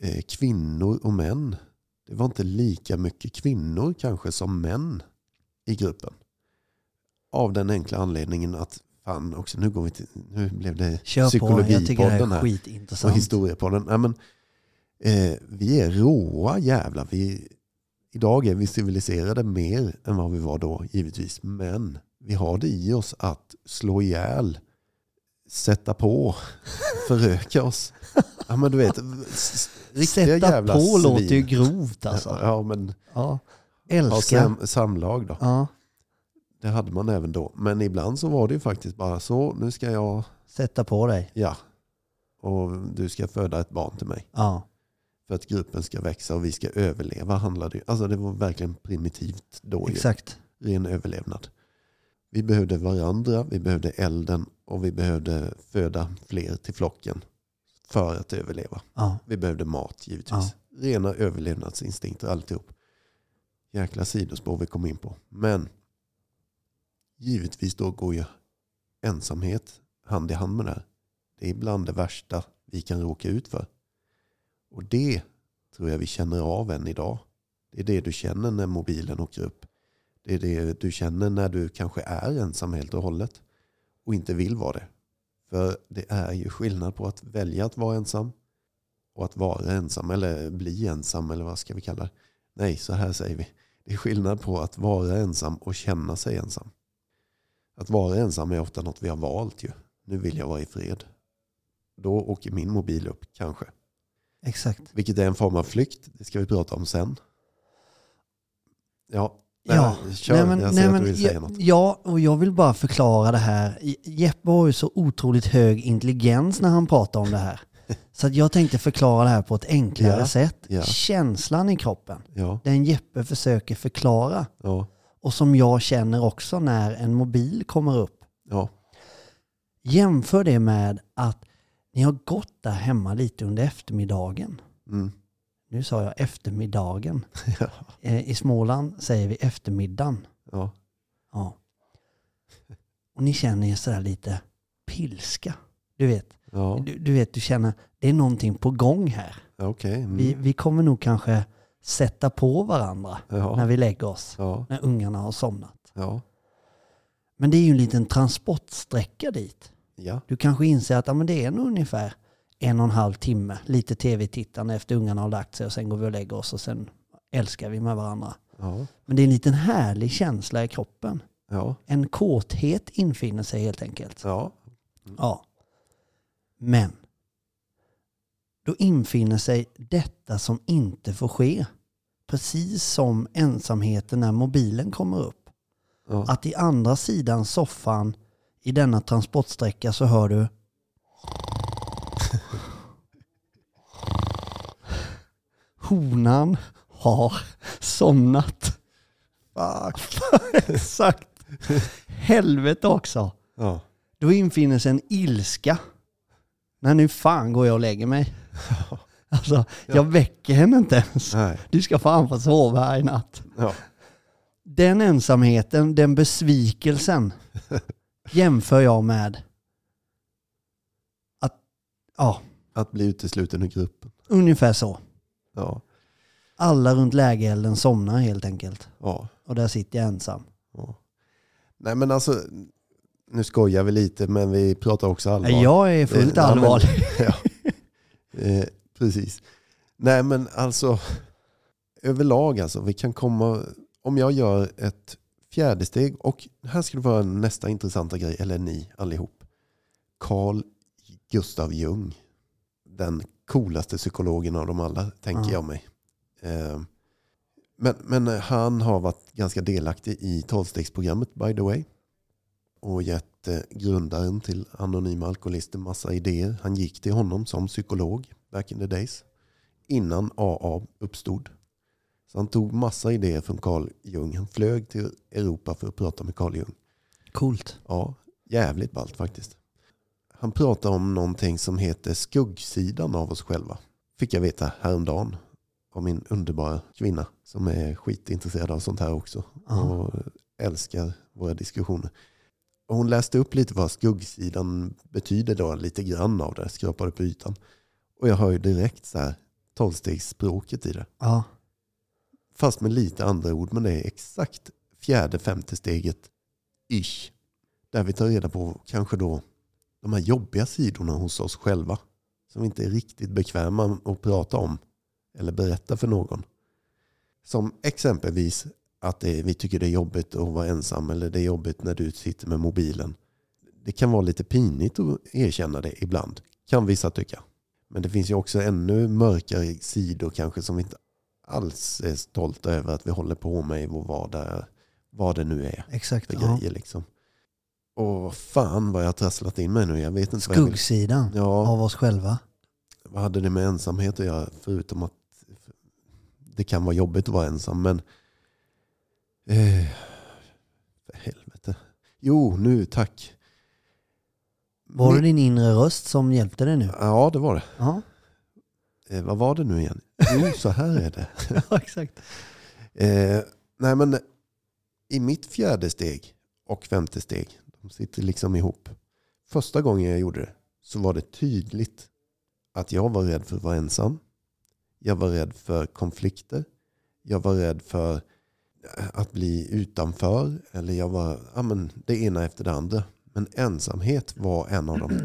[SPEAKER 1] eh, kvinnor och män. Det var inte lika mycket kvinnor kanske som män i gruppen. Av den enkla anledningen att fan också, nu, går vi till, nu blev det
[SPEAKER 2] Kör på. Jag tycker det
[SPEAKER 1] psykologipodden
[SPEAKER 2] här
[SPEAKER 1] här
[SPEAKER 2] är
[SPEAKER 1] och
[SPEAKER 2] skitintressant.
[SPEAKER 1] historiepodden. Nej, men, eh, vi är råa jävlar. Vi, idag är vi civiliserade mer än vad vi var då givetvis. Men vi har det i oss att slå ihjäl, sätta
[SPEAKER 2] [LAUGHS]
[SPEAKER 1] på, föröka oss. Ja, men du vet, s- s- riktiga
[SPEAKER 2] Sätta
[SPEAKER 1] jävla
[SPEAKER 2] på
[SPEAKER 1] svin.
[SPEAKER 2] låter ju grovt alltså.
[SPEAKER 1] Ja, men
[SPEAKER 2] Ja.
[SPEAKER 1] ha
[SPEAKER 2] Älskar.
[SPEAKER 1] sam, samlag då.
[SPEAKER 2] Ja.
[SPEAKER 1] Det hade man även då. Men ibland så var det ju faktiskt bara så, nu ska jag,
[SPEAKER 2] Sätta på dig.
[SPEAKER 1] ja. Och du ska föda ett barn till mig.
[SPEAKER 2] Ja.
[SPEAKER 1] för att gruppen ska växa och vi ska överleva. Handlade ju. Alltså det var verkligen primitivt då. Ju.
[SPEAKER 2] Exakt.
[SPEAKER 1] Ren överlevnad. Vi behövde varandra, vi behövde elden och vi behövde föda fler till flocken för att överleva.
[SPEAKER 2] Ja.
[SPEAKER 1] Vi behövde mat givetvis.
[SPEAKER 2] Ja.
[SPEAKER 1] Rena överlevnadsinstinkter alltihop. Jäkla sidospår vi kom in på. Men givetvis då går ju ensamhet hand i hand med det här. Det är bland det värsta vi kan råka ut för. Och det tror jag vi känner av än idag. Det är det du känner när mobilen åker upp. Det är det du känner när du kanske är ensam helt och hållet och inte vill vara det. För det är ju skillnad på att välja att vara ensam och att vara ensam eller bli ensam eller vad ska vi kalla det? Nej, så här säger vi. Det är skillnad på att vara ensam och känna sig ensam. Att vara ensam är ofta något vi har valt ju. Nu vill jag vara i fred. Då åker min mobil upp kanske.
[SPEAKER 2] Exakt.
[SPEAKER 1] Vilket är en form av flykt. Det ska vi prata om sen. Ja, nej,
[SPEAKER 2] Ja.
[SPEAKER 1] kör. jag ser att du vill säga
[SPEAKER 2] ja,
[SPEAKER 1] något.
[SPEAKER 2] ja, och jag vill bara förklara det här. Je- Jeppe har ju så otroligt hög intelligens när han pratar om
[SPEAKER 1] [LAUGHS]
[SPEAKER 2] det här. Så att jag tänkte förklara det här på ett enklare
[SPEAKER 1] Ja,
[SPEAKER 2] sätt.
[SPEAKER 1] ja.
[SPEAKER 2] Känslan i kroppen,
[SPEAKER 1] Ja,
[SPEAKER 2] den Jeppe försöker förklara
[SPEAKER 1] ja,
[SPEAKER 2] och som jag känner också när en mobil kommer upp.
[SPEAKER 1] ja,
[SPEAKER 2] Jämför det med att ni har gått där hemma lite under eftermiddagen.
[SPEAKER 1] mm,
[SPEAKER 2] Nu sa jag eftermiddagen.
[SPEAKER 1] [LAUGHS] Ja.
[SPEAKER 2] Eh, I Småland säger vi eftermiddagen.
[SPEAKER 1] ja,
[SPEAKER 2] Ja. Och ni känner ju sådär lite pilska. Du vet,
[SPEAKER 1] ja,
[SPEAKER 2] du, du vet, du känner det är någonting på gång här.
[SPEAKER 1] ja, okej. mm,
[SPEAKER 2] Vi, vi kommer nog kanske sätta på varandra när
[SPEAKER 1] ja,
[SPEAKER 2] vi lägger oss,
[SPEAKER 1] ja,
[SPEAKER 2] när ungarna har somnat.
[SPEAKER 1] ja,
[SPEAKER 2] Men det är ju en liten transportsträcka dit.
[SPEAKER 1] ja,
[SPEAKER 2] Du kanske inser att ja, men det är nog ungefär en och en halv timme, lite tv-tittande efter ungarna har lagt sig och sen går vi och lägger oss och sen älskar vi med varandra.
[SPEAKER 1] ja,
[SPEAKER 2] Men det är en liten härlig känsla i kroppen.
[SPEAKER 1] ja,
[SPEAKER 2] En kåthet infinner sig helt enkelt.
[SPEAKER 1] ja.
[SPEAKER 2] Ja. Men. Då infinner sig detta som inte får ske. Precis som ensamheten när mobilen kommer upp.
[SPEAKER 1] Ja.
[SPEAKER 2] Att i andra sidan soffan i denna transportsträcka så hör du [LAUGHS] Honan har somnat. Exakt. Helvete också.
[SPEAKER 1] Ja.
[SPEAKER 2] Då infinner sig en ilska. Nej nu fan går jag och
[SPEAKER 1] [LAUGHS]
[SPEAKER 2] lägger mig. Alltså, jag väcker henne inte ens.
[SPEAKER 1] Nej.
[SPEAKER 2] Du ska fan få sova här i natt.
[SPEAKER 1] Ja.
[SPEAKER 2] Den ensamheten,
[SPEAKER 1] [LAUGHS]
[SPEAKER 2] den besvikelsen jämför jag med att, ja,
[SPEAKER 1] Att bli utesluten ur gruppen.
[SPEAKER 2] ungefär så.
[SPEAKER 1] Ja.
[SPEAKER 2] alla runt lägerelden somnar helt enkelt.
[SPEAKER 1] Ja.
[SPEAKER 2] Och där sitter jag ensam.
[SPEAKER 1] ja. Nej men alltså, nu skojar vi lite men vi pratar också allvar.
[SPEAKER 2] Nej, Jag är fullt
[SPEAKER 1] Eh, nej, men-
[SPEAKER 2] allvarlig.
[SPEAKER 1] [LAUGHS] ja. eh, precis. Nej men alltså, överlag alltså, vi kan komma, om jag gör ett fjärde steg och här ska det vara nästa intressanta grej, eller ni allihop. Carl Gustav Jung, den coolaste psykologen av dem alla, tänker
[SPEAKER 2] Ja.
[SPEAKER 1] jag mig. Eh, men, men han har varit ganska delaktig i tolvstegsprogrammet by the way och gett eh, grundaren till Anonyma Alkoholister massa idéer. Han gick till honom som psykolog back in the days innan AA uppstod. Så han tog massa idéer från Carl Jung. Han flög till Europa för att prata med Carl Jung.
[SPEAKER 2] Coolt.
[SPEAKER 1] Ja, jävligt ballt faktiskt. Han pratar om någonting som heter skuggsidan av oss själva. Fick jag veta häromdagen av min underbara kvinna som är skitintresserad av sånt här också
[SPEAKER 2] Ja.
[SPEAKER 1] och älskar våra diskussioner. Och hon läste upp lite vad skuggsidan betyder då, lite grann av det, skrapade på ytan. Och jag hör ju direkt så här tolvstegsspråket i det.
[SPEAKER 2] Ja.
[SPEAKER 1] Fast med lite andra ord, men det är exakt fjärde, femte steget ish. Där vi tar reda på kanske då de här jobbiga sidorna hos oss själva. Som vi inte är riktigt bekväma att prata om eller berätta för någon. Som exempelvis att det, är- vi tycker det är jobbigt att vara ensam eller det är jobbigt när du sitter med mobilen. Det kan vara lite pinigt att erkänna det ibland, kan vissa tycka. Men det finns ju också ännu mörkare sidor kanske som vi inte alls är stolta över att vi håller på med i vår vardag, vad det nu är
[SPEAKER 2] Exakt.
[SPEAKER 1] för
[SPEAKER 2] Ja.
[SPEAKER 1] grejer liksom. Och fan vad jag har trasslat in mig nu. Jag vet inte vad jag
[SPEAKER 2] Skuggsidan
[SPEAKER 1] vill. Ja,
[SPEAKER 2] av oss själva.
[SPEAKER 1] vad hade det med ensamhet att göra? Förutom att det kan vara jobbigt att vara ensam. Men... Eh, för helvete. Jo, nu tack.
[SPEAKER 2] Var det
[SPEAKER 1] Ni-
[SPEAKER 2] din inre röst som hjälpte dig nu?
[SPEAKER 1] Ja, det var det.
[SPEAKER 2] Ja,
[SPEAKER 1] [LAUGHS] Eh, vad var det nu igen? Jo, så här är det.
[SPEAKER 2] ja exakt.
[SPEAKER 1] Eh, nej men i mitt fjärde steg och femte steg, de sitter liksom ihop. Första gången jag gjorde det så var det tydligt att jag var rädd för att vara ensam. Jag var rädd för konflikter. Jag var rädd för eh, att bli utanför. Eller jag var, ja men det ena efter det andra. Men ensamhet var en av dem.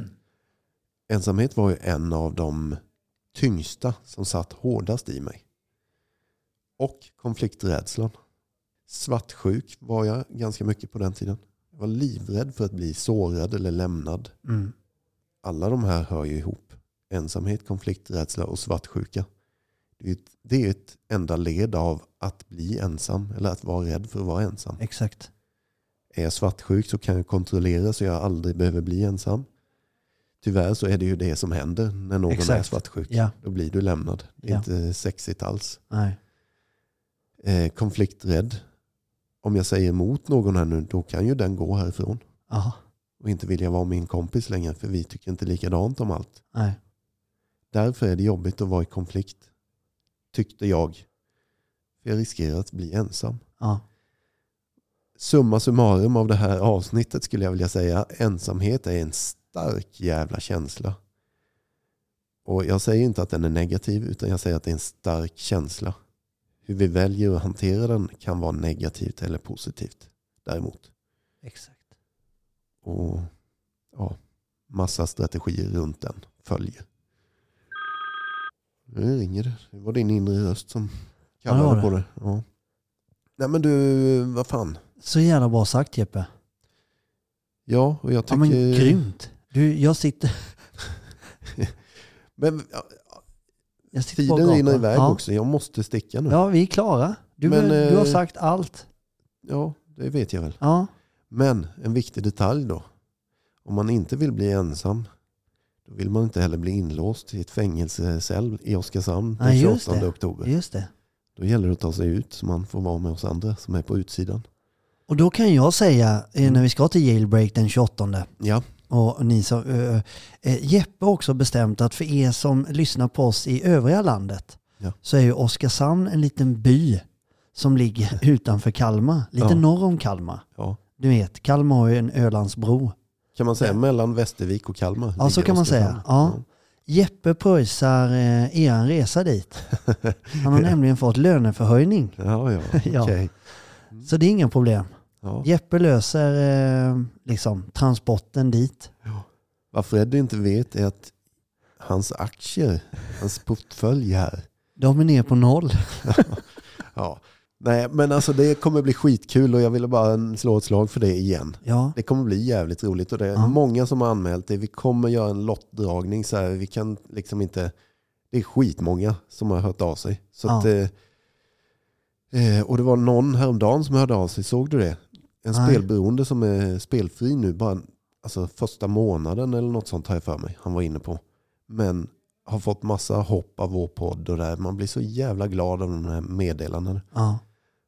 [SPEAKER 1] [CLEARS THROAT] Ensamhet var ju en av de tyngsta som satt hårdast i mig och konflikträdslan. Svartsjuk var jag ganska mycket på den tiden. Jag var livrädd för att bli sårad eller lämnad.
[SPEAKER 2] Mm.
[SPEAKER 1] Alla de här hör ju ihop. Ensamhet, konflikträdsla och svartsjuka. Det är ett- Det är ett enda led av att bli ensam eller att vara rädd för att vara ensam.
[SPEAKER 2] Exakt.
[SPEAKER 1] Är jag svartsjuk så kan jag kontrollera så jag aldrig behöver bli ensam. Tyvärr så är det ju det som händer när någon är
[SPEAKER 2] Exakt.
[SPEAKER 1] svartsjuk.
[SPEAKER 2] Ja,
[SPEAKER 1] Då blir du lämnad. Det är
[SPEAKER 2] Ja.
[SPEAKER 1] inte sexigt alls
[SPEAKER 2] nej.
[SPEAKER 1] eh, konflikträdd. Om jag säger emot någon här nu, då kan ju den gå härifrån.
[SPEAKER 2] Ja,
[SPEAKER 1] Och inte vilja vara min kompis längre, för vi tycker inte likadant om allt.
[SPEAKER 2] nej.
[SPEAKER 1] Därför är det jobbigt att vara i konflikt, tyckte jag. För jag riskerar att bli ensam.
[SPEAKER 2] Ja,
[SPEAKER 1] Summa summarum av det här avsnittet skulle jag vilja säga, ensamhet är en stark jävla känsla. Och jag säger inte att den är negativ, utan jag säger att det är en stark känsla. Hur vi väljer att hantera den kan vara negativt eller positivt däremot.
[SPEAKER 2] exakt.
[SPEAKER 1] Och ja, massa strategier runt den följer. Nu ringer det. Det var din inre röst som
[SPEAKER 2] det var
[SPEAKER 1] kallade
[SPEAKER 2] det.
[SPEAKER 1] på det. Ja. Nej men du, vad fan.
[SPEAKER 2] Så jävla bra sagt Jeppe.
[SPEAKER 1] Ja, och jag
[SPEAKER 2] Ja
[SPEAKER 1] tycker...
[SPEAKER 2] men grymt. Du, jag sitter,
[SPEAKER 1] Men, ja,
[SPEAKER 2] jag sitter bara
[SPEAKER 1] tiden
[SPEAKER 2] och
[SPEAKER 1] rinner
[SPEAKER 2] gapar.
[SPEAKER 1] iväg
[SPEAKER 2] ja.
[SPEAKER 1] också. Jag måste sticka nu. Ja.
[SPEAKER 2] Ja, vi är klara. Du,
[SPEAKER 1] Men,
[SPEAKER 2] du har
[SPEAKER 1] eh,
[SPEAKER 2] sagt allt.
[SPEAKER 1] det vet jag väl.
[SPEAKER 2] Ja,
[SPEAKER 1] Men en viktig detalj då. Om man inte vill bli ensam, då vill man inte heller bli inlåst i ett fängelsecell i Oskarshamn den
[SPEAKER 2] Nej,
[SPEAKER 1] 28
[SPEAKER 2] just det.
[SPEAKER 1] oktober.
[SPEAKER 2] just det.
[SPEAKER 1] Då gäller det att ta sig ut så man får vara med oss andra som är på utsidan.
[SPEAKER 2] Och då kan jag säga
[SPEAKER 1] Mm.
[SPEAKER 2] eh, när vi ska till jailbreak den 28
[SPEAKER 1] Ja,
[SPEAKER 2] och ni som, eh, eh, Jeppe har också bestämt att för er som lyssnar på oss i övriga landet
[SPEAKER 1] Ja.
[SPEAKER 2] så är ju Oskarshamn en liten by
[SPEAKER 1] [LAUGHS]
[SPEAKER 2] som ligger utanför Kalmar, lite
[SPEAKER 1] Ja.
[SPEAKER 2] norr om Kalmar.
[SPEAKER 1] ja.
[SPEAKER 2] Du vet, Kalmar har ju en Ölandsbro.
[SPEAKER 1] Kan man säga mellan Västervik och Kalmar?
[SPEAKER 2] Ja, så
[SPEAKER 1] ligger
[SPEAKER 2] kan man
[SPEAKER 1] Oskarshamn.
[SPEAKER 2] säga. Ja. Jeppe pröjsar eh, er resa dit.
[SPEAKER 1] [LAUGHS]
[SPEAKER 2] Han har nämligen fått löneförhöjning.
[SPEAKER 1] Ja, ja, okej.
[SPEAKER 2] [LAUGHS] Ja. Så det är inga problem.
[SPEAKER 1] Mm. Ja.
[SPEAKER 2] Jeppe löser eh, liksom transporten dit.
[SPEAKER 1] Vad Fred inte vet är att hans aktier, hans portfölj här.
[SPEAKER 2] De är ner
[SPEAKER 1] [LAUGHS]
[SPEAKER 2] på noll.
[SPEAKER 1] Ja. Nej, men alltså det kommer bli skitkul och jag ville bara slå ett slag för det igen.
[SPEAKER 2] Ja,
[SPEAKER 1] Det kommer bli jävligt roligt och det är
[SPEAKER 2] Ja.
[SPEAKER 1] många som har anmält det. Vi kommer göra en lottdragning så här. Vi kan liksom inte... Det är skitmånga som har hört av sig. Så
[SPEAKER 2] Ja.
[SPEAKER 1] att, eh, eh, och det var någon häromdagen som hörde av sig. Såg du det? En
[SPEAKER 2] Nej.
[SPEAKER 1] spelberoende som är spelfri nu. Bara, alltså första månaden eller något sånt har jag för mig. Han var inne på. Men har fått massa hopp av vår podd och där. Man blir så jävla glad av de här meddelandena.
[SPEAKER 2] ja.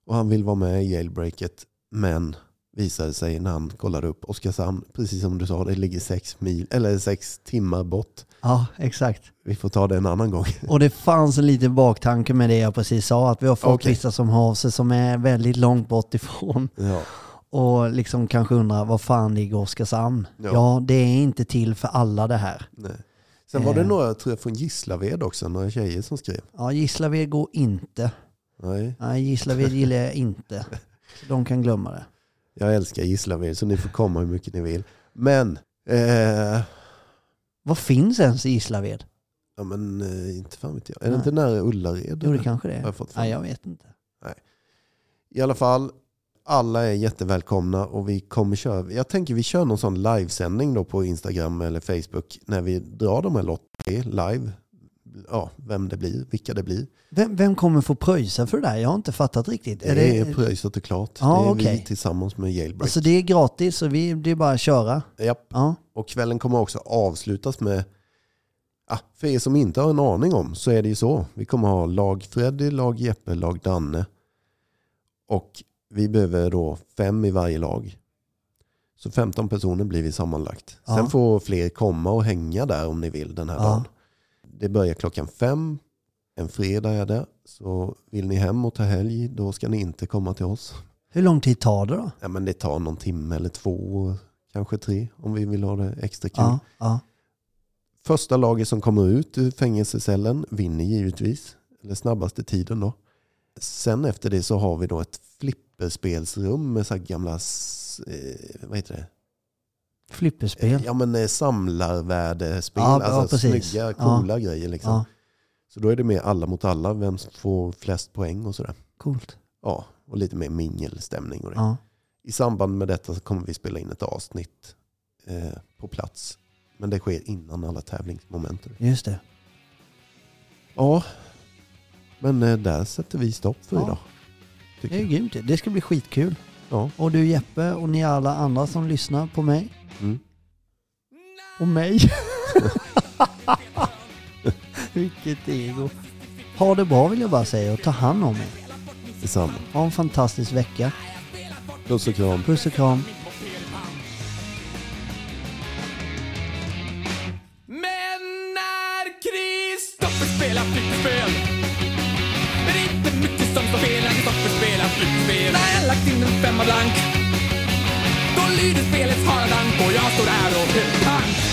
[SPEAKER 1] Och han vill vara med i jailbreaket. Men visade sig när han kollade upp Oskarshamn, precis som du sa, det ligger sex, mil, eller sex timmar bort.
[SPEAKER 2] ja exakt.
[SPEAKER 1] Vi får ta det en annan
[SPEAKER 2] [LAUGHS]
[SPEAKER 1] gång.
[SPEAKER 2] Och det fanns en liten baktanke med det jag precis sa. Att vi har fått
[SPEAKER 1] Okej.
[SPEAKER 2] vissa som har av sig som är väldigt långt bort ifrån. [LAUGHS]
[SPEAKER 1] Ja,
[SPEAKER 2] Och liksom kanske undrar, vad fan ligger Oskarshamn?
[SPEAKER 1] Ja.
[SPEAKER 2] Ja. det är inte till för alla det här.
[SPEAKER 1] nej. Sen var det
[SPEAKER 2] Eh.
[SPEAKER 1] några, tror jag, från Gislaved också, några tjejer som skrev.
[SPEAKER 2] Ja, Gislaved går inte.
[SPEAKER 1] Nej,
[SPEAKER 2] Nej, Gislaved gillar jag inte. Så De kan glömma det.
[SPEAKER 1] jag älskar Gislaved så ni får komma hur mycket ni vill. Men, eh,
[SPEAKER 2] Vad finns ens i Gislaved?
[SPEAKER 1] ja, men eh, inte fan vet jag. Är det
[SPEAKER 2] Nej.
[SPEAKER 1] inte nära Ullared?
[SPEAKER 2] Jo, det
[SPEAKER 1] eller?
[SPEAKER 2] kanske det
[SPEAKER 1] Har
[SPEAKER 2] är.
[SPEAKER 1] jag fått för
[SPEAKER 2] Nej, jag vet inte.
[SPEAKER 1] I alla fall, alla är jättevälkomna och vi kommer köra. Jag tänker vi kör någon sån livesändning då på Instagram eller Facebook när vi drar de här lotterna live. Ja, vem det blir, vilka det blir.
[SPEAKER 2] Vem, vem kommer få pröjsa för det där? Jag har inte fattat riktigt.
[SPEAKER 1] Det är, det pröjsat och klart.
[SPEAKER 2] Ja,
[SPEAKER 1] det är vi
[SPEAKER 2] okej.
[SPEAKER 1] tillsammans med Jailbreak.
[SPEAKER 2] alltså det är gratis och vi, det är bara att köra.
[SPEAKER 1] Japp.
[SPEAKER 2] Ja,
[SPEAKER 1] Och kvällen kommer också avslutas med, ah, för er som inte har en aning om så är det ju så. Vi kommer ha lag Freddy, lag Jeppe, lag Danne. Och vi behöver då fem i varje lag. Så 15 personer blir vi sammanlagt.
[SPEAKER 2] Ja.
[SPEAKER 1] Sen får fler komma och hänga där om ni vill den här
[SPEAKER 2] Ja.
[SPEAKER 1] dagen. Det börjar klockan fem. En fredag är det. Så vill ni hem och ta helg, då ska ni inte komma till oss.
[SPEAKER 2] hur lång tid tar det då?
[SPEAKER 1] Ja, men det tar någon timme eller två, kanske tre, om vi vill ha det extra kul.
[SPEAKER 2] Ja, ja,
[SPEAKER 1] Första laget som kommer ut ur fängelsecellen vinner givetvis. Eller snabbaste tiden då. Sen efter det så har vi då ett flipperspelsrum med så här gamla s- eh, vad heter det?
[SPEAKER 2] flipperspel.
[SPEAKER 1] Ja men eh, samlarvärdespel.
[SPEAKER 2] Ja, ja,
[SPEAKER 1] alltså
[SPEAKER 2] precis.
[SPEAKER 1] snygga,
[SPEAKER 2] Ja.
[SPEAKER 1] coola grejer liksom.
[SPEAKER 2] Ja,
[SPEAKER 1] Så då är det mer alla mot alla, vem som får flest poäng och sådär.
[SPEAKER 2] coolt.
[SPEAKER 1] Ja, och lite mer mingelstämning och det.
[SPEAKER 2] Ja,
[SPEAKER 1] I samband med detta så kommer vi spela in ett avsnitt eh, på plats. Men det sker innan alla tävlingsmomenten.
[SPEAKER 2] just det.
[SPEAKER 1] Ja, men eh, där sätter vi stopp för
[SPEAKER 2] Ja.
[SPEAKER 1] idag. Tycker
[SPEAKER 2] Det är
[SPEAKER 1] jag.
[SPEAKER 2] grymt. Det ska bli skitkul.
[SPEAKER 1] Ja.
[SPEAKER 2] Och du Jeppe och ni alla andra som lyssnar på mig.
[SPEAKER 1] Mm.
[SPEAKER 2] Och mig. [LAUGHS] Vilket ego. Ha det bra vill jag bara säga och ta hand om er.
[SPEAKER 1] Detsamma.
[SPEAKER 2] Ha en fantastisk vecka.
[SPEAKER 1] Puss och kram.
[SPEAKER 2] Puss och kram.
[SPEAKER 3] Men när Kristoffer spelar flipperspel är det inte mycket som står fel när Kristoffer spelar flipperspel. När jag lagt in en femma blank då lyder spelets haradank och jag står där och är pank.